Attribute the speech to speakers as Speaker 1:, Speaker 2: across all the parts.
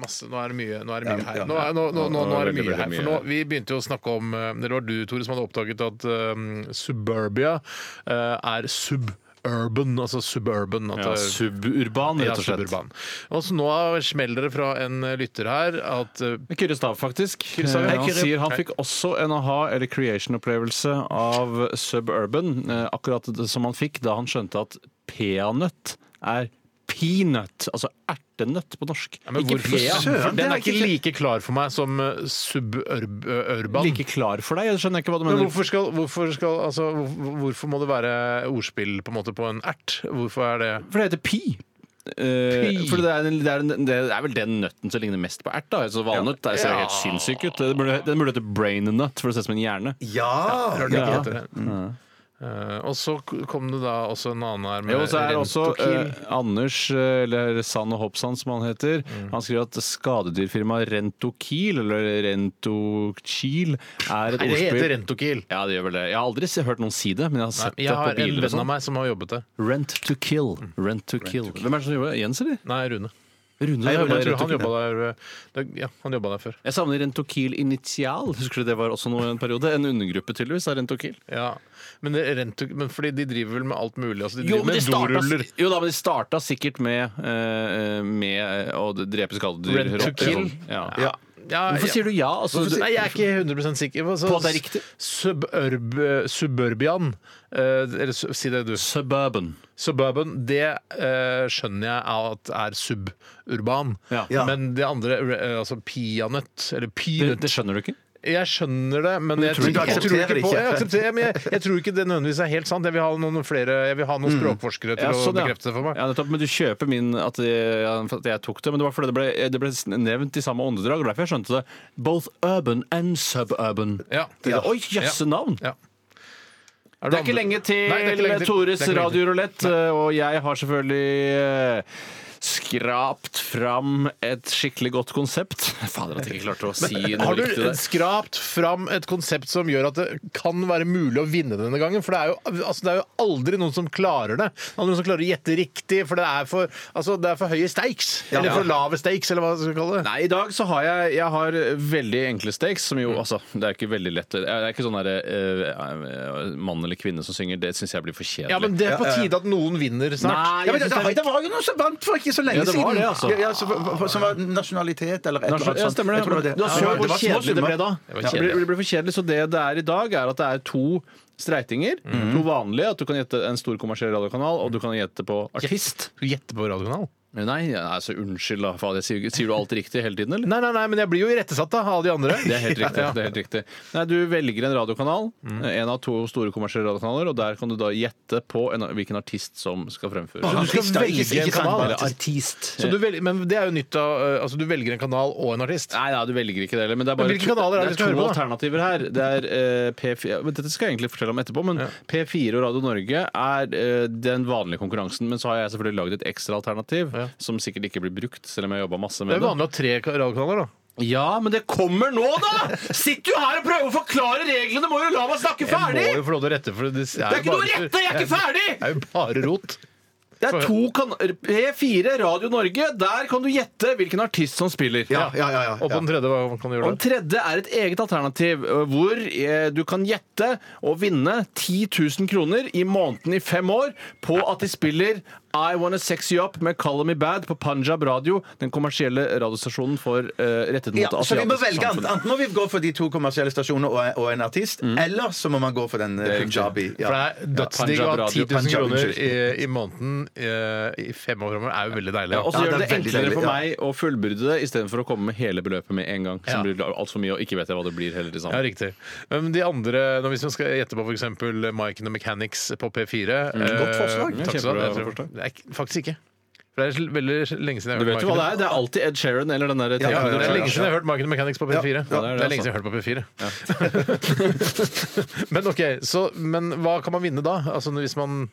Speaker 1: Masse, nå er det mye, nå er det
Speaker 2: Ja,
Speaker 1: mye her.
Speaker 2: ja.
Speaker 1: Nå, er- nå, nå, nå, nå er det
Speaker 2: Veldig,
Speaker 1: mye
Speaker 2: veldig
Speaker 1: her. For nå,
Speaker 2: mye.
Speaker 1: vi begynte jo å snakke om eh, Det var du, Tore, som hadde oppdaget at eh, suburbia eh, er suburban, altså suburban. At
Speaker 3: Ja,
Speaker 1: det er-
Speaker 3: suburban,
Speaker 1: ja,
Speaker 3: rett og slett.
Speaker 1: suburban. Og så nå smeller det fra en eh, lytter her at eh,
Speaker 3: Kyrre Stav, faktisk.
Speaker 1: Stav, ja.
Speaker 3: Eh, Han
Speaker 1: Hei, Kyrre.
Speaker 3: sier han
Speaker 1: Hei.
Speaker 3: fikk også en aha- eller creation-opplevelse av Suburban, eh, akkurat det som han fikk da han skjønte at peanøtt er peanøtt, altså ertenøtt på norsk.
Speaker 1: ja, men
Speaker 3: ikke
Speaker 1: hvorfor
Speaker 3: pea.
Speaker 1: søren?
Speaker 3: for
Speaker 1: Den
Speaker 3: Den
Speaker 1: er ikke like klar for meg som eh, suburban.
Speaker 3: like klar for deg, jeg skjønner ikke hva du
Speaker 1: Men
Speaker 3: mener.
Speaker 1: hvorfor, skal, hvorfor, skal, altså, hvor- hvorfor må det være ordspill på en måte på en ert? Hvorfor er det
Speaker 3: For det heter pi. Eh,
Speaker 1: Pi.
Speaker 3: for det er, en- det, er en, det er vel den nøtten som ligner mest på ert. da altså Valnøtt det ser jo helt sinnssyk ut. Den burde, den burde hete brain nut, for det ser ut som en hjerne.
Speaker 2: Ja!
Speaker 1: Hørte ikke
Speaker 3: Ja. Mm.
Speaker 1: etter det. Eh, og så kom det da også en annen her med
Speaker 3: Jo, så er det også
Speaker 1: Rentokil.
Speaker 3: eh, Anders, eh, eller Sand og Hoppsand som han heter,
Speaker 1: Mm.
Speaker 3: han skriver at skadedyrfirmaet Rentokil, eller Rentokil, er et
Speaker 1: Nei, det heter
Speaker 3: ordspill.
Speaker 1: Rentokil.
Speaker 3: Ja, det gjør vel det. Jeg har aldri se- hørt noen si det, men jeg har
Speaker 1: Nei,
Speaker 3: sett
Speaker 1: jeg
Speaker 3: det
Speaker 1: har
Speaker 3: på
Speaker 1: en
Speaker 3: biler. og
Speaker 1: venn av
Speaker 3: sånn.
Speaker 1: meg som har jobbet det.
Speaker 3: Rent to kill. Rent to kill. Hvem er det som jobber? Jens, eller?
Speaker 1: Nei, Rune.
Speaker 3: Rune?
Speaker 1: Nei,
Speaker 3: jobber
Speaker 1: Rune jeg
Speaker 3: i
Speaker 1: tror han
Speaker 3: Rentokil.
Speaker 1: jobba der, eh, det- ja, han jobbet der før.
Speaker 3: Jeg savner Rentokil Initial. Husker du det var også noe en periode? En undergruppe tydeligvis av Rentokil.
Speaker 1: Ja. Men, det- Rentok, men fordi de driver vel med alt mulig. Altså, de driver med doruller.
Speaker 3: jo da, men de starta sikkert med, eh, med eh, å drepe skadedyr.
Speaker 1: Rent to
Speaker 3: rotter og
Speaker 1: kill.
Speaker 3: sånn. Ja.
Speaker 1: Ja. Ja,
Speaker 3: Hvorfor
Speaker 1: ja.
Speaker 3: sier du ja? Altså,
Speaker 1: Hvorfor- Nei, jeg er ikke 100 sikker. Altså,
Speaker 3: På at det er riktig?
Speaker 1: Suburb, suburbian eh, Eller su- si det du.
Speaker 3: Suburban.
Speaker 1: Suburban, det eh, skjønner jeg at er suburban.
Speaker 3: Ja.
Speaker 2: Ja.
Speaker 1: Men det andre, eh, altså peanøtt, eller
Speaker 3: Det,
Speaker 1: peanøtt
Speaker 3: det skjønner du ikke?
Speaker 1: Jeg skjønner det, men jeg,
Speaker 2: tror
Speaker 1: tror-
Speaker 2: ikke-
Speaker 1: jeg,
Speaker 2: du
Speaker 1: tror ikke
Speaker 2: aksepterer
Speaker 1: på
Speaker 2: ikke.
Speaker 1: jeg, aksepterer, men jeg, jeg tror ikke det nødvendigvis er helt sant. Jeg vil ha noen, flere, jeg vil ha noen språkforskere til
Speaker 3: Ja,
Speaker 1: å
Speaker 3: sånn, ja.
Speaker 1: bekrefte det for meg.
Speaker 3: Ja, nettopp, men du kjøper min at jeg, at jeg tok det, men det var fordi det ble, det ble nevnt i samme åndedrag. og Derfor jeg skjønte det. Both urban and suburban.
Speaker 1: Ja.
Speaker 3: Det, oi, jøsse navn!
Speaker 1: Ja. Er
Speaker 3: Det er ikke lenge til,
Speaker 1: Nei, det er ikke lenge til.
Speaker 3: Tores
Speaker 1: Det er ikke lenge til.
Speaker 3: radiorulett, eh, og jeg har selvfølgelig eh, skrapt fram et skikkelig godt konsept. Fader, at jeg ikke klarte å si noe
Speaker 1: Har
Speaker 3: riktig
Speaker 1: du
Speaker 3: der.
Speaker 1: skrapt fram et konsept som gjør at det kan være mulig å vinne denne gangen? For det er jo, altså, det er jo aldri noen som klarer det. Det er Aldri noen som klarer å gjette riktig, for det er for, altså, det er for høye stakes. Eller for lave stakes, eller hva man skal kalle det.
Speaker 3: Nei, i dag så har jeg, jeg har veldig enkle stakes, som jo altså Det er ikke veldig lett. Det er ikke sånn derre eh, mann eller kvinne som synger. Det syns jeg blir for kjedelig.
Speaker 1: Ja, men det er på tide at noen vinner snart.
Speaker 3: Nei,
Speaker 2: Ja, men
Speaker 3: jeg
Speaker 2: det,
Speaker 3: synes
Speaker 2: det, var jo noen som vant for ikke så lenge
Speaker 3: Ja, det var
Speaker 2: siden.
Speaker 3: det, altså.
Speaker 2: ja, ja, så, for- for- som var nasjonalitet eller et eller
Speaker 3: Ja,
Speaker 2: annet. sånt.
Speaker 3: stemmer det.
Speaker 2: Jeg tror
Speaker 3: Du har
Speaker 2: Ja,
Speaker 3: sett
Speaker 2: det
Speaker 3: hvor
Speaker 2: var små
Speaker 3: kjedelig det
Speaker 2: summer.
Speaker 3: ble da.
Speaker 1: Det var
Speaker 3: Ja. Det
Speaker 1: kjedelig.
Speaker 3: ble, det ble for kjedelig, så det det er i dag, er at det er to streitinger. To vanlige. At du kan gjette en stor kommersiell radiokanal, og du kan gjette på artist.
Speaker 1: Skal du gjette på radiokanal?
Speaker 3: Nei, ja, altså unnskyld, da. Fader, jeg sier, sier du alt riktig hele tiden, eller?
Speaker 1: Nei, nei, nei, men jeg blir jo irettesatt da, av de andre.
Speaker 3: Det er helt riktig.
Speaker 1: Ja. Mm.
Speaker 3: det er helt riktig. Nei, Du velger en radiokanal, eh, en av to store kommersielle radiokanaler, og der kan du da gjette på en, hvilken artist som skal
Speaker 1: Så du
Speaker 3: fremføre.
Speaker 1: skal
Speaker 2: Artist, da, ikke-
Speaker 1: velge en
Speaker 2: ikke sant,
Speaker 1: kanal?
Speaker 2: bare
Speaker 3: artist.
Speaker 1: Så du velger, men det er jo nytt av eh, Altså, du velger en kanal og en artist.
Speaker 3: Nei, nei, du velger ikke det heller. Men det er bare
Speaker 1: Men hvilke kanaler er det
Speaker 3: det
Speaker 1: vi skal høre
Speaker 3: er to
Speaker 1: på, da?
Speaker 3: alternativer her. Det er eh, P4 ja, men Dette skal jeg egentlig fortelle om etterpå, men P4 og Radio Norge er eh, den vanlige konkurransen. Men så har jeg selvfølgelig lagd et ekstra alternativ,
Speaker 1: Ja.
Speaker 3: som sikkert ikke blir brukt, selv om jeg har jobba
Speaker 1: Det er
Speaker 3: masse med
Speaker 1: jo
Speaker 3: det.
Speaker 1: vanlig å ha tre radiokanaler, da.
Speaker 3: Ja, men det kommer nå, da! Sitter jo her og prøver å forklare reglene! Må jo la meg snakke ferdig!
Speaker 1: Jeg må jo få lov til å rette, for det er,
Speaker 3: Det er ikke
Speaker 1: jo
Speaker 3: noe
Speaker 1: bare-
Speaker 3: rette! Jeg er ikke ferdig!
Speaker 1: Det er jo bare rot.
Speaker 3: Det er to kan P4, Radio Norge. Der kan du gjette hvilken artist som spiller.
Speaker 2: Ja, ja, ja, ja,
Speaker 1: Og på den tredje, hva kan du gjøre
Speaker 3: Og
Speaker 1: da?
Speaker 3: den tredje er et eget alternativ, ø, hvor eh, du kan gjette og vinne 10 000 kroner i måneden i fem år på at de spiller I Wanna Sex You Up med Call Me Bad på Punjab Radio, den kommersielle radiostasjonen for eh, rettet mot
Speaker 2: Ja, så vi må
Speaker 3: asiatisk
Speaker 2: velge
Speaker 3: samfunn.
Speaker 2: enten, enten må vi gå for de to kommersielle stasjonene og, og en artist,
Speaker 3: Mm.
Speaker 2: eller så må man gå for den eh, punjabi. Ja.
Speaker 1: For det er dødsdigg å
Speaker 3: Punjab
Speaker 1: ha 10
Speaker 3: Radio,
Speaker 1: 000
Speaker 2: Punjab,
Speaker 1: kroner i,
Speaker 2: unnskyld.
Speaker 1: i måneden eh, i fem år framover er jo veldig deilig.
Speaker 3: Ja, og så
Speaker 2: Ja,
Speaker 3: gjør det,
Speaker 2: det er veldig
Speaker 3: enklere
Speaker 2: deilig,
Speaker 3: for
Speaker 2: ja.
Speaker 3: meg å fullbyrde det istedenfor å komme med hele beløpet med en gang. Som
Speaker 1: Ja.
Speaker 3: blir altfor mye, og ikke vet jeg hva det blir heller til
Speaker 1: Ja,
Speaker 3: sammen.
Speaker 1: riktig. Men de andre, når hvis man skal gjette på f.eks. Mike and the Mechanics på P4 eh,
Speaker 2: Godt forslag.
Speaker 1: Takk skal du ha.
Speaker 3: Mm. Kjempebra
Speaker 1: Jeg tror-
Speaker 3: forslag.
Speaker 1: Nei, Faktisk ikke. For det er veldig lenge siden jeg har
Speaker 3: Du vet
Speaker 1: hørt
Speaker 3: jo hva det
Speaker 1: Mike
Speaker 3: er. Det er alltid Ed Sheeran eller den derre
Speaker 2: Ja, ja, ja,
Speaker 1: and-
Speaker 2: er.
Speaker 1: det er lenge siden jeg har hørt Mike and the Mechanics på P4. det, er
Speaker 2: Ja,
Speaker 1: lenge
Speaker 3: altså.
Speaker 1: siden jeg har hørt på P4. men ok, så, men hva kan man vinne da? Altså hvis man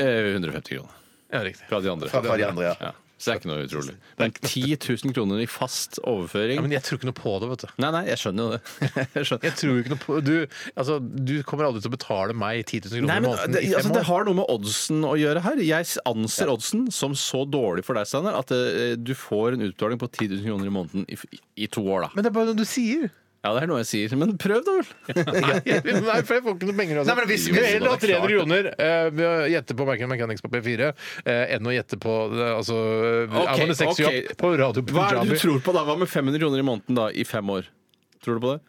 Speaker 3: 150 kroner
Speaker 1: Ja, riktig.
Speaker 3: fra de andre.
Speaker 2: Fra de andre, ja.
Speaker 3: Så det er ikke noe utrolig. Men 10 000 kroner i fast overføring
Speaker 1: Ja, men jeg tror ikke noe på det, vet du.
Speaker 3: Nei, nei, jeg skjønner jo det. Jeg skjønner.
Speaker 1: Jeg tror ikke noe på Du, altså, du kommer aldri til å betale meg 10 000
Speaker 3: Nei,
Speaker 1: kroner i
Speaker 3: men
Speaker 1: måneden
Speaker 3: det,
Speaker 1: i fem
Speaker 3: altså, det
Speaker 1: år.
Speaker 3: har noe med oddsen å gjøre her. Jeg anser oddsen som så dårlig for deg, Steinar, at eh, du får en utbetaling på 10 000 kroner i måneden i, f- i to år, da.
Speaker 1: Men det er bare noe du sier.
Speaker 3: Ja, det er noe jeg sier, men prøv da vel!
Speaker 1: Nei, for jeg får ikke noe penger. Altså.
Speaker 2: Nei, men hvis-
Speaker 1: jeg vil heller ha
Speaker 3: Jo, det er
Speaker 1: 300 kroner eh, ved å gjette på Mechanics Mechanics på P4 eh, enn å gjette på eh, altså,
Speaker 3: Ok,
Speaker 1: okay, sexy
Speaker 3: ok.
Speaker 1: Up på Radio
Speaker 3: Hva er det
Speaker 1: Punjabi.
Speaker 3: du tror på da? Hva med 500 kroner i måneden da, i fem år? Tror du på det?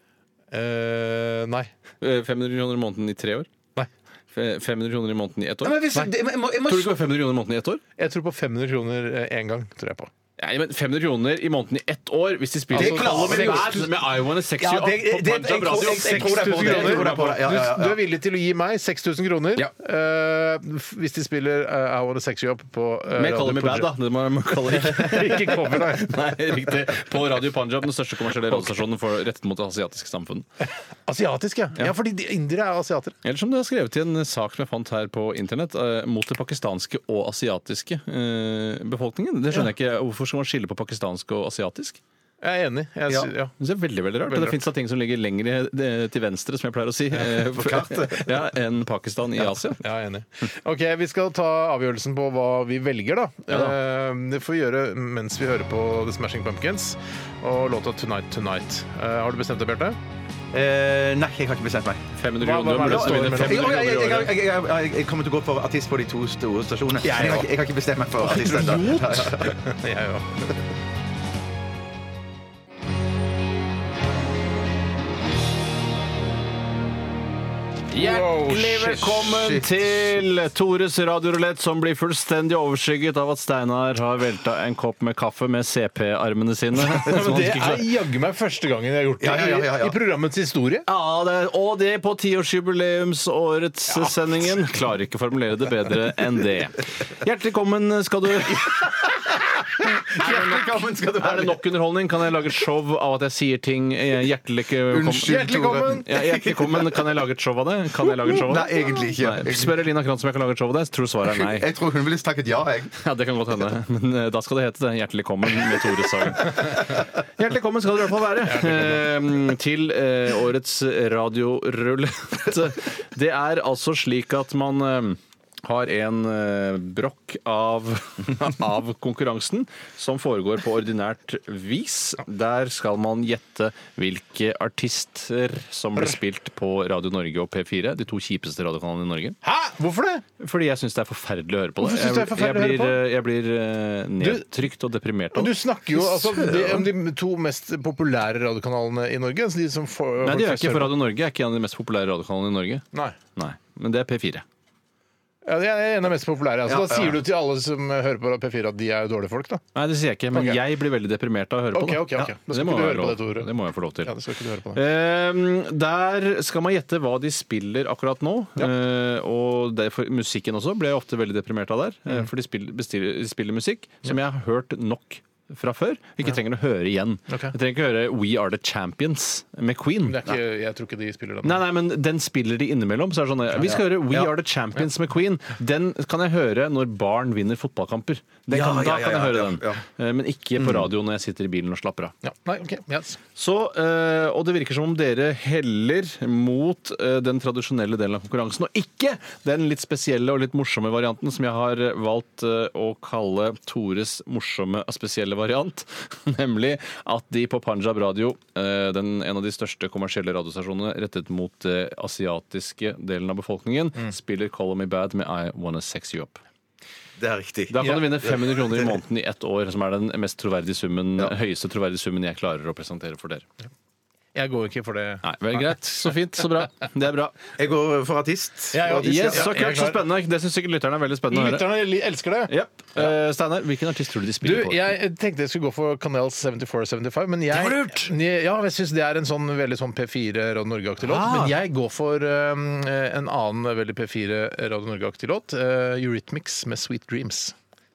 Speaker 1: Eh, nei.
Speaker 3: Eh, 500 kroner i måneden i tre år?
Speaker 1: Nei.
Speaker 3: Fe- 500 kroner i måneden i ett år?
Speaker 2: Nei, men hvis, det, jeg må, jeg må,
Speaker 3: Tror du ikke det var 500 kroner i måneden i ett år?
Speaker 1: Jeg tror på 500 kroner én gang. tror jeg på.
Speaker 3: Nei, men 500 kroner i måneden i ett år hvis de sånn spiller
Speaker 2: Det klarer vi jo.
Speaker 3: Bad med I Wanna Sex
Speaker 2: Ja,
Speaker 3: You Up
Speaker 2: det-
Speaker 3: på
Speaker 2: det- jeg
Speaker 3: Punjab
Speaker 2: tror-
Speaker 3: Radio.
Speaker 2: jeg- jeg tror det er
Speaker 1: 6000
Speaker 2: på det, jeg tror det er på
Speaker 1: kroner.
Speaker 2: det. Ja, ja, ja.
Speaker 1: Du, du er villig til å gi meg 6000 kroner
Speaker 2: Ja.
Speaker 1: eh, f- hvis de spiller eh, I Wanna Sex You Up på eh,
Speaker 3: Med Call
Speaker 1: Radio
Speaker 3: Me Bad, da.
Speaker 1: Punjab.
Speaker 3: Det må man kalle det.
Speaker 1: Ikke cover, nei.
Speaker 3: Nei, riktig. På Radio Punjab, den største kommersielle radiostasjonen for rettet mot det asiatiske samfunn.
Speaker 1: Asiatisk, ja. ja. fordi de- indere er asiater.
Speaker 3: Eller som det er skrevet i en sak som jeg fant her på internett, eh, mot det pakistanske og asiatiske eh, befolkningen. Det skjønner jeg ikke. Hvorfor skal man skille på pakistansk og asiatisk?
Speaker 1: Jeg er enig. Jeg, sy- ja.
Speaker 3: Det er veldig, veldig rart.
Speaker 1: Veldig
Speaker 3: det fins da ting som ligger lenger i- det- til venstre, som jeg pleier å si, eh,
Speaker 2: kartet.
Speaker 3: ja, enn Pakistan i Asia.
Speaker 1: Ja, jeg er enig. Ok, Vi skal ta avgjørelsen på hva vi velger, da. Eh, Det får vi gjøre mens vi hører på The Smashing Pumpkins og låta 'Tonight Tonight'. Eh, Har du bestemt deg, Bjarte?
Speaker 2: Eh, nei, jeg har ikke bestemt meg.
Speaker 3: 500
Speaker 1: Hva- hva-
Speaker 3: kroner.
Speaker 1: hva er det
Speaker 3: burde
Speaker 1: står
Speaker 3: vinne
Speaker 1: imellom?
Speaker 3: 500 kroner
Speaker 2: Jeg, jeg,
Speaker 3: i
Speaker 2: jeg,
Speaker 3: året.
Speaker 2: jeg, jeg, jeg, jeg kommer til å gå for artist på de to store stasjonene. Jeg har, ikke- jeg har ikke bestemt meg for artist ennå.
Speaker 1: Jeg òg.
Speaker 3: Hjertelig
Speaker 1: Wow, shit,
Speaker 3: velkommen
Speaker 1: shit,
Speaker 3: til Tores radiorulett, som blir fullstendig overskygget av at Steinar har velta en kopp med kaffe med CP-armene sine. Som han
Speaker 1: Men det
Speaker 3: ikke klarer.
Speaker 1: er jaggu meg første gangen jeg har gjort det
Speaker 2: Ja, ja, ja, ja, ja.
Speaker 1: i- i programmets historie.
Speaker 3: ja, det er, og det på tiårsjubileumsårets sendingen. Klarer ikke å formulere det bedre enn det. Hjertelig velkommen skal du Er
Speaker 2: Velkommen skal du
Speaker 3: det nok underholdning? Kan jeg lage et show av at jeg sier ting eh, hjertelig velkommen-
Speaker 2: Unnskyld,
Speaker 1: Hjertelig
Speaker 2: Tore.
Speaker 1: velkommen.
Speaker 3: Ja, hjertelig velkommen. Kan jeg lage et show av det? Kan jeg lage et show av det?
Speaker 2: Nei, egentlig ikke.
Speaker 3: Nei. Spør Elina Krantz om jeg kan lage et show av det. Jeg tror svaret er nei.
Speaker 2: Jeg tror hun ville takket ja, jeg.
Speaker 3: Ja, Det kan godt hende. Men eh, da skal det hete det. Hjertelig kommen med Tore Sagen. Hjertelig kommen skal dere i hvert fall være eh, til eh, årets radiorulett. Det er altså slik at man eh, har en eh, brokk av, av konkurransen som foregår på ordinært vis. Der skal man gjette hvilke artister som ble spilt på Radio Norge og P4, de to kjipeste radiokanalene i Norge.
Speaker 1: Hæ? Hvorfor det?
Speaker 3: Fordi jeg syns det er forferdelig å høre på det.
Speaker 1: Hvorfor synes du det er
Speaker 3: jeg,
Speaker 1: forferdelig å
Speaker 3: jeg, blir,
Speaker 1: høre
Speaker 3: eh, jeg blir eh, nedtrykt og deprimert av
Speaker 1: Du
Speaker 3: det.
Speaker 1: snakker jo altså, de, om de to mest populære radiokanalene i Norge. Så de som får,
Speaker 3: Nei, det gjør jeg ikke, for Radio Norge er ikke en av de mest populære radiokanalene i Norge.
Speaker 1: Nei.
Speaker 3: Nei, Men det er P4.
Speaker 1: Ja, de er en av de mest populære. Altså.
Speaker 2: Ja,
Speaker 1: da
Speaker 2: ja.
Speaker 1: sier du til alle som hører på P4 at de er dårlige folk, da.
Speaker 3: Nei, det sier jeg ikke, men
Speaker 1: Ok.
Speaker 3: jeg blir veldig deprimert av å høre
Speaker 1: Ok,
Speaker 3: på det.
Speaker 1: ok, ok. Da skal
Speaker 3: det,
Speaker 1: ikke
Speaker 3: må
Speaker 1: du
Speaker 3: være
Speaker 1: høre på
Speaker 3: lov.
Speaker 1: det, Tore.
Speaker 3: det må jeg få lov til.
Speaker 1: Ja, det skal ikke du høre på. Da.
Speaker 3: Ehm, der skal man gjette hva de spiller akkurat nå. Eh, og derfor, musikken også ble jeg ofte veldig deprimert av der. eh, For de spiller, bestiller, de spiller musikk som jeg har hørt nok fra før. Ikke trenger å høre igjen.
Speaker 1: Ok.
Speaker 3: Jeg trenger ikke høre We Are The Champions med Queen.
Speaker 1: Det er ikke, jeg tror ikke de spiller den.
Speaker 3: Nei, nei, men den spiller de innimellom. Så er det sånn, vi skal høre We Are The Champions med Queen. Den kan jeg høre når barn vinner fotballkamper. Den
Speaker 2: Ja,
Speaker 3: kan, da
Speaker 2: ja, ja,
Speaker 3: kan jeg
Speaker 2: ja,
Speaker 3: høre
Speaker 2: ja,
Speaker 3: den.
Speaker 2: ja. Mm.
Speaker 3: Eh, Men ikke på radio når jeg sitter i bilen og slapper av.
Speaker 1: Ja. Nei, ok, yes.
Speaker 3: Så, eh, og det virker som om dere heller mot eh, den tradisjonelle delen av konkurransen, og ikke den litt spesielle og litt morsomme varianten som jeg har eh, valgt eh, å kalle Tores morsomme og spesielle variant. Nemlig at de på Panjab Radio, eh, den, en av de største kommersielle radiostasjonene rettet mot det asiatiske delen av befolkningen, spiller Call Me Bad med I Wanna Sex You Up.
Speaker 2: Det er riktig.
Speaker 3: Da kan du vinne 500 kroner i måneden i ett år, som er den mest troverdige summen, høyeste troverdige summen jeg klarer å presentere for dere.
Speaker 1: Jeg går ikke for det.
Speaker 3: Nei, vel greit. Så fint, så bra. Det er bra.
Speaker 2: Jeg går for artist.
Speaker 1: Jeg er artist,
Speaker 3: Yes, så
Speaker 1: Ja, jeg er
Speaker 3: kult, så
Speaker 1: klar.
Speaker 3: spennende. Det syns sikkert lytterne er veldig spennende å høre.
Speaker 1: Lytterne li- elsker det.
Speaker 3: Yep. Eh, Steinar, hvilken artist tror du
Speaker 1: Du,
Speaker 3: de spiller på?
Speaker 1: jeg tenkte jeg skulle gå for Canel 74-75, men jeg
Speaker 3: Det var lurt!
Speaker 1: Ja, jeg syns det er en sånn veldig sånn P4 Radio Norge-aktig låt.
Speaker 3: Ah.
Speaker 1: Men jeg går for um, en annen veldig P4 Radio Norge-aktig låt, eh, Eurythmics med eh, Sweet Dreams.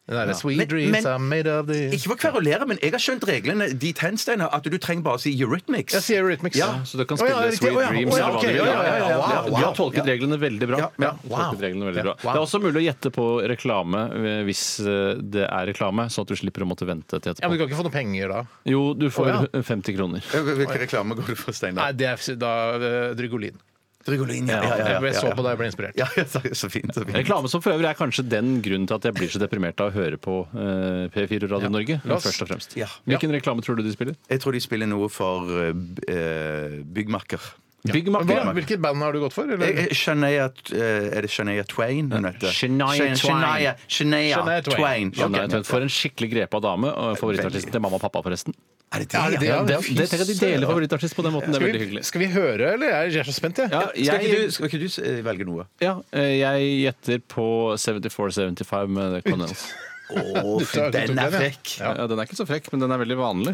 Speaker 1: Den derre Sweet
Speaker 2: Men-
Speaker 1: dreams
Speaker 2: men-
Speaker 1: are made of the
Speaker 2: Ikke for å kverulere, men jeg har skjønt reglene dit hen, Steinar, at du trenger bare å si Eurythmics.
Speaker 1: Jeg sier Rhythmics.
Speaker 2: Ja,
Speaker 3: Så du
Speaker 1: Å,
Speaker 3: kan spille
Speaker 1: ja, riktig.
Speaker 3: Sweet
Speaker 1: Å, ja.
Speaker 3: Dreams
Speaker 1: Å, ja,
Speaker 3: eller hva
Speaker 1: ok.
Speaker 3: du vil.
Speaker 1: Ja, ja, ja, ja.
Speaker 3: Ja,
Speaker 1: Wow,
Speaker 3: De
Speaker 1: wow.
Speaker 3: har tolket reglene veldig bra.
Speaker 2: Ja,
Speaker 3: Ja,
Speaker 2: ja.
Speaker 3: tolket reglene veldig bra.
Speaker 1: Wow.
Speaker 3: Det er også mulig å gjette på reklame eh, hvis eh, det er reklame, sånn at du slipper å måtte vente
Speaker 1: Ja, men
Speaker 3: til
Speaker 1: Du
Speaker 3: etterpå.
Speaker 1: kan ikke få noe penger da?
Speaker 3: Jo, du får
Speaker 1: Å,
Speaker 3: 50 kroner.
Speaker 2: Hvilken reklame går du for,
Speaker 1: Nei,
Speaker 2: Steinar?
Speaker 1: det er da eh, Drygolin.
Speaker 2: Drygolin, ja. ja, ja, ja,
Speaker 1: Jeg så
Speaker 2: ja,
Speaker 1: på da jeg ble inspirert.
Speaker 2: ja, ja, så- så fint. Så fint.
Speaker 3: Reklame som for øvrig er kanskje den grunnen til at jeg blir så deprimert av å høre på eh, P4 og Radio Norge.
Speaker 1: La oss-
Speaker 3: først og fremst.
Speaker 2: Ja.
Speaker 3: Hvilken reklame tror du de spiller?
Speaker 2: Jeg tror de spiller noe for eh, b- eh, byggmakker.
Speaker 3: Big Mac.
Speaker 1: Hva, hvilket band har du gått for?
Speaker 2: Jeg-
Speaker 1: Eller?
Speaker 2: jeg- Shania eh, Er det Shania Twain hun heter?
Speaker 3: Shania Twain.
Speaker 2: Shania- Shania, Shania
Speaker 1: Shania Twain.
Speaker 2: Twain.
Speaker 3: Ja, nei,
Speaker 2: Ok.
Speaker 3: vent, For en skikkelig grepa dame. og Favorittartisten til mamma og pappa, forresten.
Speaker 2: Er det
Speaker 1: Er det
Speaker 2: det?
Speaker 1: det,
Speaker 2: ja?
Speaker 1: ja?
Speaker 3: Det,
Speaker 1: fy
Speaker 3: det tenker jeg at De
Speaker 1: søren.
Speaker 3: deler favorittartist på den måten. Det er
Speaker 1: Skal
Speaker 3: veldig
Speaker 1: vi,
Speaker 3: hyggelig.
Speaker 1: skal vi høre, eller? Jeg er- Jeg er så spent, jeg.
Speaker 3: Ja,
Speaker 2: Skal ikke du,
Speaker 3: jeg,
Speaker 2: skal ikke du s- eh, velge noe?
Speaker 3: ja, eh, jeg gjetter på 74-75 med The Connells.
Speaker 2: Å, for
Speaker 1: tar- du tok
Speaker 2: den er
Speaker 1: den, ja.
Speaker 2: frekk!
Speaker 3: Ja. den er ikke så frekk, men den er veldig vanlig.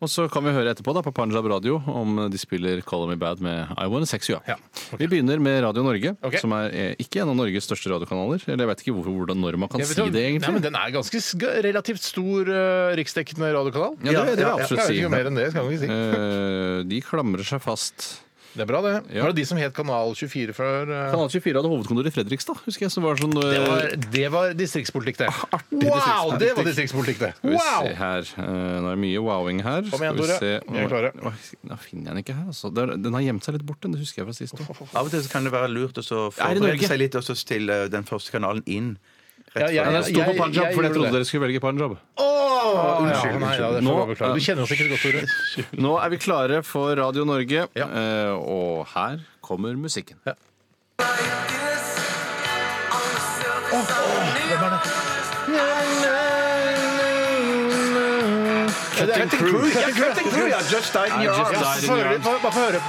Speaker 3: Og så kan vi høre etterpå da på Panjab Radio om de spiller Call Me Bad med I Wanna Sex You Up.
Speaker 1: Ja, ok.
Speaker 3: Vi begynner med Radio Norge,
Speaker 1: Ok.
Speaker 3: som er eh, ikke en av Norges største radiokanaler. Eller jeg vet ikke hvorfor, hvordan når man kan
Speaker 1: Jeg vet
Speaker 3: si
Speaker 1: om-
Speaker 3: det, egentlig.
Speaker 1: Nei, men Den er ganske sk- relativt stor eh, riksdekkende radiokanal.
Speaker 3: ja, det, det vil jeg
Speaker 2: Ja,
Speaker 1: Jeg
Speaker 3: absolutt
Speaker 1: vet ikke
Speaker 3: si.
Speaker 1: mer enn det. skal man ikke si.
Speaker 3: Eh, de klamrer seg fast.
Speaker 1: Det er bra, det.
Speaker 3: Ja.
Speaker 1: Var det de som het Kanal 24 før? eh?
Speaker 3: Kanal 24 hadde hovedkontor i Fredrikstad, husker jeg. Som var sånn, eh,
Speaker 1: Det var, det var distriktspolitikk, det. Wow,
Speaker 3: Ah, distriktspolitikk.
Speaker 1: det var distriktspolitikk, det!
Speaker 3: Skal vi se
Speaker 1: Wow!
Speaker 3: her. Eh, Nå er det mye wowing her.
Speaker 1: Kom igjen,
Speaker 3: Skal vi
Speaker 1: Tore.
Speaker 3: se-
Speaker 1: Vi er klare.
Speaker 3: Oi, Nå finner jeg den ikke her. Altså. Der- Den har gjemt seg litt bort, den. Det husker jeg fra sist. også.
Speaker 2: Av og til så kan det være lurt å så
Speaker 3: Er det Norge?
Speaker 2: forberede seg litt og så stille den første kanalen inn.
Speaker 1: Ja,
Speaker 2: Rett
Speaker 1: ja,
Speaker 3: Nei,
Speaker 2: fra-
Speaker 3: den sto på
Speaker 1: Jeg-
Speaker 3: Punjab,
Speaker 1: jeg
Speaker 3: fordi jeg
Speaker 1: gjorde
Speaker 3: trodde
Speaker 1: det.
Speaker 3: dere skulle velge Punjab.
Speaker 1: Åh,
Speaker 2: unnskyld,
Speaker 1: ja, nei,
Speaker 2: unnskyld.
Speaker 1: ja, det får
Speaker 3: Ah, Nå-
Speaker 1: jeg beklage. Du kjenner oss sikkert godt, Tore.
Speaker 3: Nå er vi klare for Radio Norge,
Speaker 1: Ja.
Speaker 3: eh, og her kommer musikken.
Speaker 1: Cutting Crew.
Speaker 2: Ja, Captain Crew, ja, Just Died in
Speaker 3: I
Speaker 2: Your
Speaker 3: just
Speaker 2: Arms.
Speaker 1: Ja,
Speaker 3: died in
Speaker 1: få
Speaker 3: your
Speaker 1: høre litt,
Speaker 3: arms.
Speaker 1: bare bare få høre.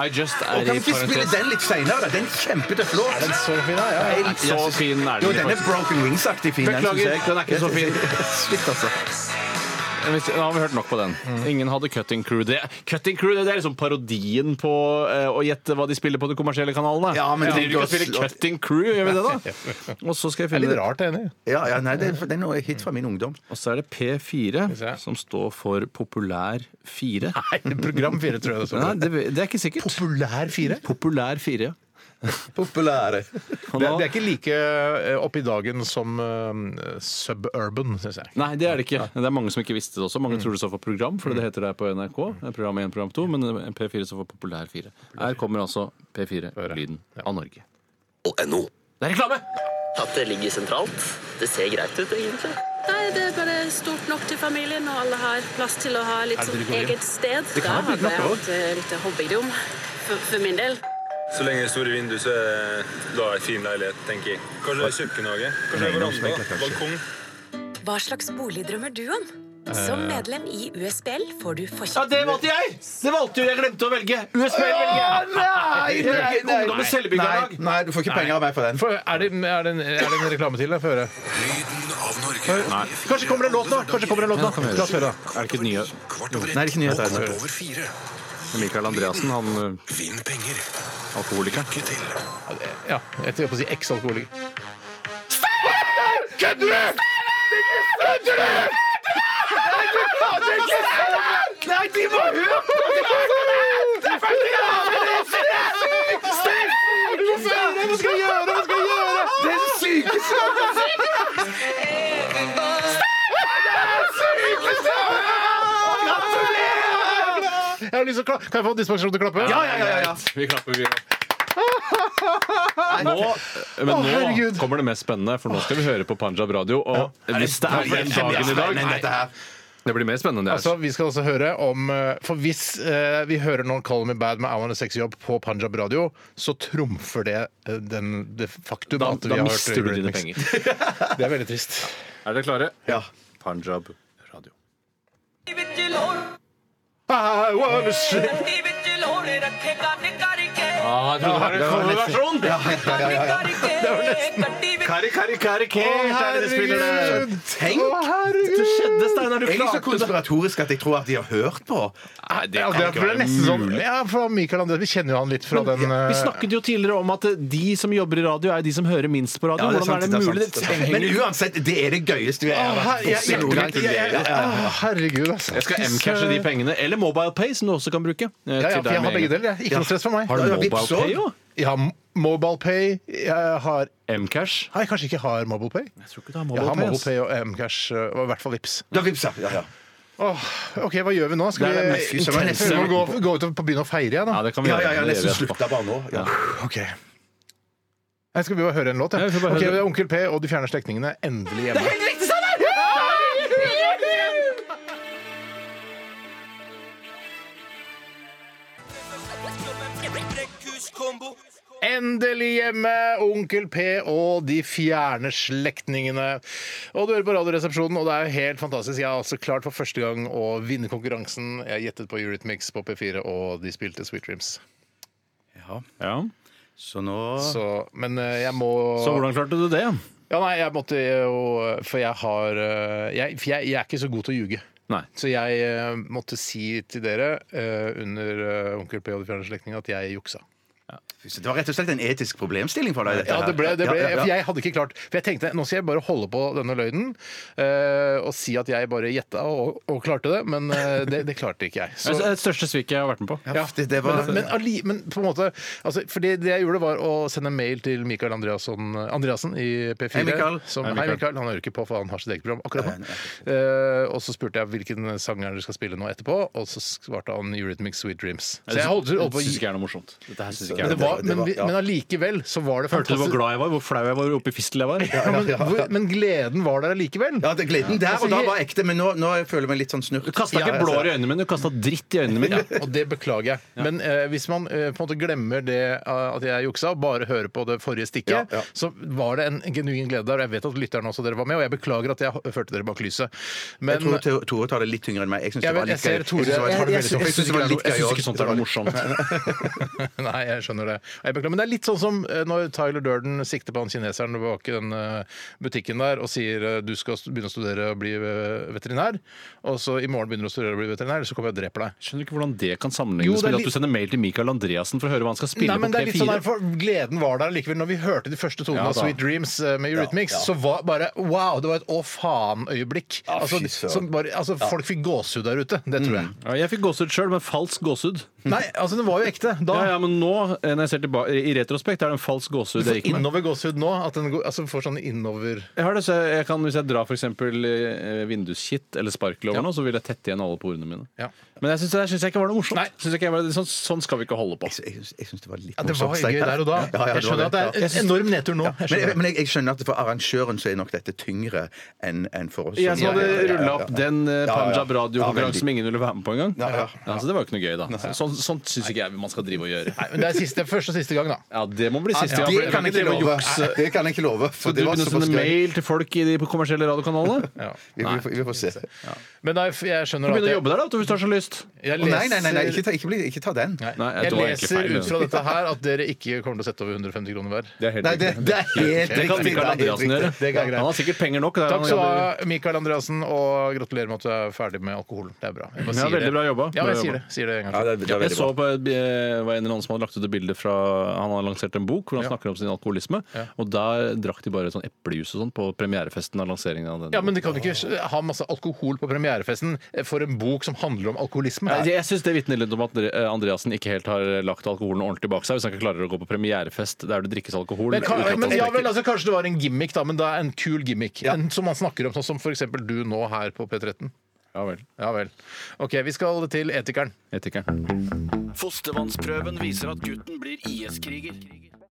Speaker 3: I just er
Speaker 2: Og kan
Speaker 3: i
Speaker 2: vi ikke spille
Speaker 3: parentes.
Speaker 2: den litt seinere? Den er kjempetøff låt.
Speaker 1: Er den så fin, da? Ja,
Speaker 2: Jeg
Speaker 1: ja.
Speaker 2: liker
Speaker 3: Så
Speaker 2: den.
Speaker 3: fin er den
Speaker 2: Jo,
Speaker 3: ikke,
Speaker 2: den er
Speaker 3: faktisk.
Speaker 2: Broken Wings-aktig fin.
Speaker 3: Beklager,
Speaker 2: synes jeg.
Speaker 3: den er ikke så fin.
Speaker 2: Shit, altså.
Speaker 3: Hvis- Nå har vi hørt nok på den. Ingen hadde Cutting Crew. Det, cutting Crew det er liksom parodien på eh, å gjette hva de spiller på de kommersielle kanalene.
Speaker 2: Ja, men
Speaker 3: Jeg
Speaker 2: det-
Speaker 3: driver ikke og spiller Cutting Crew, gjør vi det da? Og så skal jeg
Speaker 1: Det er
Speaker 3: finne
Speaker 1: litt rart, jeg er enig.
Speaker 2: Ja, ja, nei, det, er- det er noe hit fra min ungdom.
Speaker 3: Og så er det P4,
Speaker 1: se.
Speaker 3: som står for Populær 4.
Speaker 1: Nei, program fire, tror jeg det
Speaker 3: Nei,
Speaker 1: står.
Speaker 3: det, det er ikke sikkert.
Speaker 1: Populær fire?
Speaker 3: Populær 4.
Speaker 2: Populære.
Speaker 1: Det,
Speaker 3: Og nå-
Speaker 1: det er ikke like eh, opp i dagen som eh, suburban, syns jeg.
Speaker 3: Nei, det er det ikke. Det er mange som ikke visste det også. Mange tror det står for program, for det heter det på NRK. Program 1, program 2, men P4 står for Populær 4. Her kommer altså P4, lyden av Norge.
Speaker 4: NO.
Speaker 3: Det er reklame!
Speaker 4: At det ligger sentralt. Det ser greit ut, egentlig.
Speaker 5: Nei, det er bare stort nok til familien, og alle har plass til å ha litt sånn eget sted. Da
Speaker 2: kan være
Speaker 5: hadde jeg
Speaker 2: knapper
Speaker 5: hatt eh, litt hobbydom, for, for min del.
Speaker 6: Så lenge det er store vinduer, så er da er det fin leilighet, tenker jeg. Kanskje det er kjøkkenhage? Kanskje det er
Speaker 2: Eiendomsmegler,
Speaker 6: veranda?
Speaker 2: kanskje.
Speaker 6: Balkong?
Speaker 7: Hva slags bolig drømmer du om? Som medlem i USBL får du
Speaker 3: Ja,
Speaker 7: forkjøpt
Speaker 3: det valgte jeg! Det valgte jo jeg glemte å velge. USB velger jeg.
Speaker 2: Nei,
Speaker 3: Det er ikke ungdommens selvbyggerlag.
Speaker 2: Nei, nei, du får ikke penger av meg for den.
Speaker 1: For er, det, er, det en, er det en reklame til? Jeg får høre.
Speaker 3: Nei.
Speaker 1: Kanskje kommer det en låt nå! Kanskje kommer det en låt
Speaker 3: Ja, kan vi
Speaker 1: nå.
Speaker 3: gjøre.
Speaker 1: La oss høre. da.
Speaker 3: Er det ikke nye?
Speaker 2: Nei, det er ikke nyheter. jeg tror.
Speaker 3: Michael Andreassen, han eh, ø,
Speaker 8: Vinn penger.
Speaker 3: alkoholikeren.
Speaker 8: Lykke til.
Speaker 1: Ja, jeg holdt på å si eks-alkoholiker. Jeg har lyst til å kla- Kan jeg få dispensasjon til å klappe?
Speaker 2: Ja, ja, ja, ja, ja.
Speaker 3: Vi klapper, vi òg. Nå, men
Speaker 1: Å,
Speaker 3: nå
Speaker 1: herregud.
Speaker 3: kommer det mest spennende, for nå skal vi høre på Panjab radio. Og hvis det er den dagen i dag
Speaker 2: Nei, dette her.
Speaker 3: Det blir mer spennende enn det
Speaker 1: Altså, Vi skal også høre om eh, For hvis eh, vi hører noen Call Me Bad med I Want A Sexy Job på Punjab radio, så trumfer det eh, den, det faktum
Speaker 3: Da,
Speaker 1: at vi
Speaker 3: da
Speaker 1: har hørt
Speaker 3: mister du dine
Speaker 1: Eurythmics.
Speaker 3: penger.
Speaker 1: Det er veldig trist.
Speaker 3: Er dere klare?
Speaker 2: Ja.
Speaker 3: Punjab radio.
Speaker 1: I wanna see
Speaker 9: Livet til året er kjekka, det kan ikke.
Speaker 3: Ah, jeg trodde det var en coverversjon! Kari, kari, kari, kert er det de spiller der.
Speaker 2: Tenk!
Speaker 3: Det skjedde, Steinar. Du
Speaker 2: Jeg er så
Speaker 3: klarte det.
Speaker 2: konspiratorisk at jeg tror at de har hørt på.
Speaker 3: Nei, det
Speaker 1: Ja,
Speaker 3: kan
Speaker 1: det
Speaker 3: ikke
Speaker 1: er
Speaker 3: være
Speaker 1: nesten sånn Ja, fra Michael André, vi kjenner jo han litt fra den
Speaker 3: Vi
Speaker 1: eh,
Speaker 3: snakket jo tidligere om at de som jobber i radio, er de som hører minst på radio.
Speaker 2: Ja, det er
Speaker 3: Hvordan er
Speaker 2: sant,
Speaker 3: det
Speaker 2: det er
Speaker 3: mulig?
Speaker 2: sant, det er sant. Men uansett, det er det gøyeste vi
Speaker 1: Å,
Speaker 2: har
Speaker 1: her- jeg- jeg-
Speaker 2: vært
Speaker 1: jeg- jeg- jeg-
Speaker 2: på.
Speaker 1: å, Herregud, altså.
Speaker 3: Jeg skal M-cashe
Speaker 2: eh,
Speaker 3: de pengene. Eller MobilePay, som du også kan bruke. eh,
Speaker 1: Ja, ja,
Speaker 3: til deg
Speaker 1: for jeg
Speaker 3: med
Speaker 1: har
Speaker 3: en
Speaker 1: begge
Speaker 3: gang.
Speaker 1: deler. jeg. Ikke noe stress for meg.
Speaker 3: Har du
Speaker 2: Ja, Vipps også?
Speaker 3: MobilePay òg?
Speaker 1: Jeg har MobilePay. Jeg har
Speaker 3: M-cash?
Speaker 1: Nei, kanskje ikke har MobilePay. Jeg
Speaker 3: tror ikke du
Speaker 1: har
Speaker 3: har MobilePay, ass.
Speaker 1: MobilePay og Mcash, og i hvert fall Vipps.
Speaker 2: Da vipsa. Ja, ja.
Speaker 1: Åh, OK, hva gjør vi nå? Skal
Speaker 3: Det er
Speaker 1: vi
Speaker 3: det mest
Speaker 2: Fy søren.
Speaker 1: Vi må gå, gå ut og begynne å feire igjen,
Speaker 3: Ja,
Speaker 1: da?
Speaker 3: det kan vi
Speaker 2: Ja,
Speaker 3: gjøre.
Speaker 2: ja, ja,
Speaker 3: Det gjør vi
Speaker 2: nesten
Speaker 3: etterpå.
Speaker 2: slutta bare nå. Ja.
Speaker 1: OK. Jeg skal vi bare høre en låt,
Speaker 3: Ja,
Speaker 1: jeg.
Speaker 3: vi får bare
Speaker 1: Ok,
Speaker 3: høre
Speaker 1: det er
Speaker 3: den.
Speaker 1: Onkel P og De fjerne slektningene endelig hjemme. Endelig hjemme! Onkel P og De fjerne slektningene. Og du hører på Radioresepsjonen, og det er jo helt fantastisk. Jeg har altså klart for første gang å vinne konkurransen. Jeg gjettet på Eurythmics på P4, og de spilte Sweet Dreams.
Speaker 3: Ja.
Speaker 2: Så nå
Speaker 1: Så, men eh, jeg må
Speaker 3: Så hvordan klarte du det?
Speaker 1: Ja, nei, jeg måtte jo For jeg har eh, jeg, For jeg, jeg er ikke så god til å ljuge.
Speaker 3: Nei.
Speaker 1: Så jeg eh, måtte si til dere eh, under eh, Onkel P og de fjerne slektningene at jeg juksa.
Speaker 2: Det var rett og slett en etisk problemstilling for deg. dette
Speaker 1: Ja,
Speaker 2: her.
Speaker 1: det ble, det ble,
Speaker 2: Ja, ja, ja.
Speaker 1: For jeg hadde ikke klart For jeg tenkte, nå skal jeg bare holde på denne løgnen eh, og si at jeg bare gjetta og, og klarte det, men eh, det, det klarte ikke jeg.
Speaker 3: Det
Speaker 1: Så,
Speaker 3: er det største sviket jeg har vært med på.
Speaker 2: Ja, det, det var
Speaker 1: men, alli, men på en måte altså, For det, det jeg gjorde, var å sende mail til Mikael Andreasson, Andreassen i P4.
Speaker 2: Hei, Mikael.
Speaker 1: Som, hei,
Speaker 2: Hei, Mikael.
Speaker 1: Mikael. Han hører ikke på, for han har sitt eget program akkurat nå. Eh, og så spurte jeg hvilken sang er det du skal spille nå etterpå, og så svarte han Eurythmic Sweet Dreams. Så jeg holdt, holdt på
Speaker 3: Det
Speaker 1: å gi
Speaker 3: syns ikke er noe morsomt. Dette her synes ikke
Speaker 1: men, det
Speaker 3: jeg er noe.
Speaker 1: var, men, vi-
Speaker 2: ja.
Speaker 1: men allikevel så var det
Speaker 3: Hørte du hvor
Speaker 1: fantastisk.
Speaker 3: glad jeg var? Hvor flau jeg var? Hvor oppe i fistel jeg var?
Speaker 1: Ja, men, hvor, men gleden var der allikevel.
Speaker 2: Ja, det gleden der
Speaker 1: Altså,
Speaker 2: og da
Speaker 1: jeg-
Speaker 2: var ekte, men nå, nå føler jeg meg litt sånn
Speaker 3: Du
Speaker 2: snurt.
Speaker 3: kasta
Speaker 2: Ja,
Speaker 3: ikke
Speaker 2: jeg ser
Speaker 3: blår i
Speaker 2: det.
Speaker 3: øynene mine, du kasta dritt i øynene mine.
Speaker 1: Og det beklager jeg. Men eh, hvis man eh, på en måte glemmer det eh, at jeg juksa, og bare hører på det forrige stikket,
Speaker 2: Ja, ja.
Speaker 1: så var det en genuin glede der. Og jeg vet at lytterne også dere var med, og jeg beklager at jeg h- førte dere bak lyset.
Speaker 2: Jeg
Speaker 1: Men
Speaker 2: tror Tore- Tore tar det litt tyngre enn meg. Jeg syns
Speaker 1: Jeg
Speaker 2: det
Speaker 1: vet-
Speaker 2: var litt
Speaker 1: jeg
Speaker 2: gøy.
Speaker 1: ser Tore-
Speaker 2: synes det var-
Speaker 1: jeg- jeg-
Speaker 2: jeg synes- jeg synes det var litt
Speaker 3: Jeg
Speaker 2: gøy
Speaker 3: syns
Speaker 2: også.
Speaker 3: ikke sånt er noe morsomt.
Speaker 1: Nei, jeg skjønner det. Og Jeg beklager, men det er litt sånn som eh, når Tyler Durden sikter på han kineseren bak den eh, butikken der og sier eh, du skal st- begynne å studere og bli eh, veterinær, og så i morgen begynner du å studere og bli veterinær, så kommer jeg og dreper deg.
Speaker 3: Skjønner ikke hvordan det kan
Speaker 1: Jo,
Speaker 3: sammenlignes
Speaker 1: det er
Speaker 3: med
Speaker 1: litt-
Speaker 3: at du sender mail til Michael Andreassen for å høre hva han skal spille
Speaker 1: Nei, men
Speaker 3: på
Speaker 1: det er litt sånn der,
Speaker 3: P4.
Speaker 1: for Gleden var der likevel. Når vi hørte de første tonene
Speaker 3: Ja,
Speaker 1: av
Speaker 3: da.
Speaker 1: Sweet Dreams eh, med Eurythmics, så var bare wow! Det var et å faen-øyeblikk.
Speaker 2: Ja,
Speaker 1: altså,
Speaker 2: fy søren.
Speaker 1: som bare- altså, Folk fikk gåsehud der ute. Det tror jeg.
Speaker 3: Ja, jeg fikk gåsehud sjøl, men falsk gåsehud.
Speaker 1: Nei, altså, det var jo ekte da.
Speaker 3: Ja, ja, men nå, eh, når jeg ser tilbake, i retrospekt, er det en falsk gåsehud jeg gikk med.
Speaker 1: Innover gåsehud nå. At den går, altså, får sånn innover
Speaker 3: Jeg har det, så jeg kan, Hvis jeg drar for eksempel, eh, vinduskitt eller sparkel over nå, så vil jeg tette igjen alle porene mine.
Speaker 1: Ja.
Speaker 3: Men jeg syns det syns jeg ikke var noe morsomt.
Speaker 1: Nei.
Speaker 3: Synes jeg ikke var, sånn, sånn skal vi ikke holde på.
Speaker 2: Jeg synes- Jeg syns- jeg syns det var litt
Speaker 1: ja, Det var gøy
Speaker 2: morsomt, Steinar.
Speaker 1: der og da.
Speaker 2: Ja, ja, ja,
Speaker 1: jeg skjønner at det er
Speaker 2: ja.
Speaker 1: en enorm nedtur nå. Jeg
Speaker 2: Men, jeg,
Speaker 1: skjønner.
Speaker 2: men jeg, jeg skjønner at for arrangøren så er nok dette tyngre enn enn for oss.
Speaker 3: Jeg som hadde rulla opp den eh,
Speaker 2: Ja, ja, ja.
Speaker 3: Punjab
Speaker 2: Ja,
Speaker 3: radiokonkurransen
Speaker 2: veldig.
Speaker 3: som ingen ville være med på engang.
Speaker 2: Ja, ja.
Speaker 3: Ja, så det var jo ikke noe gøy, da. Så- Sånn, sånt syns ikke jeg man skal drive og gjøre.
Speaker 1: Nei, men det er siste, første og siste gang, da.
Speaker 3: Ja, det må bli
Speaker 2: Ja,
Speaker 3: siste gang. for
Speaker 2: det kan jeg ikke
Speaker 3: drive og
Speaker 2: love.
Speaker 3: jukse.
Speaker 2: Nei, Det kan jeg ikke love.
Speaker 3: Skal eh,
Speaker 2: For
Speaker 3: du
Speaker 2: det var
Speaker 3: begynne å
Speaker 2: såpass
Speaker 3: sende
Speaker 2: gøy.
Speaker 3: mail til folk i de kommersielle radiokanalene?
Speaker 1: Ja.
Speaker 2: Vi, vi, får- vi får se.
Speaker 1: Men nei, jeg skjønner at
Speaker 3: Du begynner å
Speaker 1: jeg,
Speaker 3: jobbe der da, hvis du har så lyst.
Speaker 1: jeg
Speaker 2: Å, nei, nei, nei, nei ikke,
Speaker 1: leser
Speaker 2: ta, ikke, bli, ikke ta den. Nei,
Speaker 3: Nei, jeg
Speaker 1: jeg
Speaker 3: tror egentlig
Speaker 1: leser
Speaker 3: feil.
Speaker 1: ut fra dette her at dere ikke kommer til å sette over 150 kroner hver.
Speaker 3: Det er helt
Speaker 2: det,
Speaker 3: riktig.
Speaker 2: det er helt
Speaker 3: Det kan Mikael
Speaker 2: riktig. det er helt
Speaker 3: Andreassen gjøre.
Speaker 2: riktig.
Speaker 1: Det er greit.
Speaker 3: Han har sikkert penger nok. det er
Speaker 1: Takk
Speaker 3: han
Speaker 1: skal du
Speaker 3: jobber-
Speaker 1: ha, Mikael Andreassen, og gratulerer med at du er ferdig med alkoholen. Det er bra. Jeg bare
Speaker 3: Ja,
Speaker 1: sier det.
Speaker 3: veldig bra jobba.
Speaker 1: Ja,
Speaker 3: Bra
Speaker 1: jeg sier
Speaker 3: jobba.
Speaker 1: det, sier det en gang
Speaker 2: Ja,
Speaker 1: til.
Speaker 2: det er, det
Speaker 3: Jeg
Speaker 2: er veldig
Speaker 3: så
Speaker 2: bra.
Speaker 3: på et, eh, var en eller annen som hadde lagt ut et bilde fra Han har lansert en bok hvor han snakker om sin alkoholisme. Og der drakk de bare sånn eplejus og sånn på premierefesten av lanseringen av den.
Speaker 1: Ja, men de kan jo ikke ha masse alkohol på premierefesten eh, for en bok som handler om alkoholisme.
Speaker 3: Nei, Jeg syns det vitner litt om at Andre- eh, Andreassen ikke helt har lagt alkoholen ordentlig bak seg. Hvis han ikke klarer å gå på premierefest der det drikkes alkohol.
Speaker 1: Men, kan,
Speaker 3: uten at
Speaker 1: men
Speaker 3: han
Speaker 1: ja
Speaker 3: drikker.
Speaker 1: vel, altså Kanskje det var en gimmick, da, men det er en kul gimmick. En som man snakker om, sånn som f.eks. du nå her på P13.
Speaker 3: ja vel.
Speaker 1: Ja vel. OK, vi skal til Etikeren.
Speaker 3: Etikeren. Fostervannsprøven viser at gutten blir IS-kriger.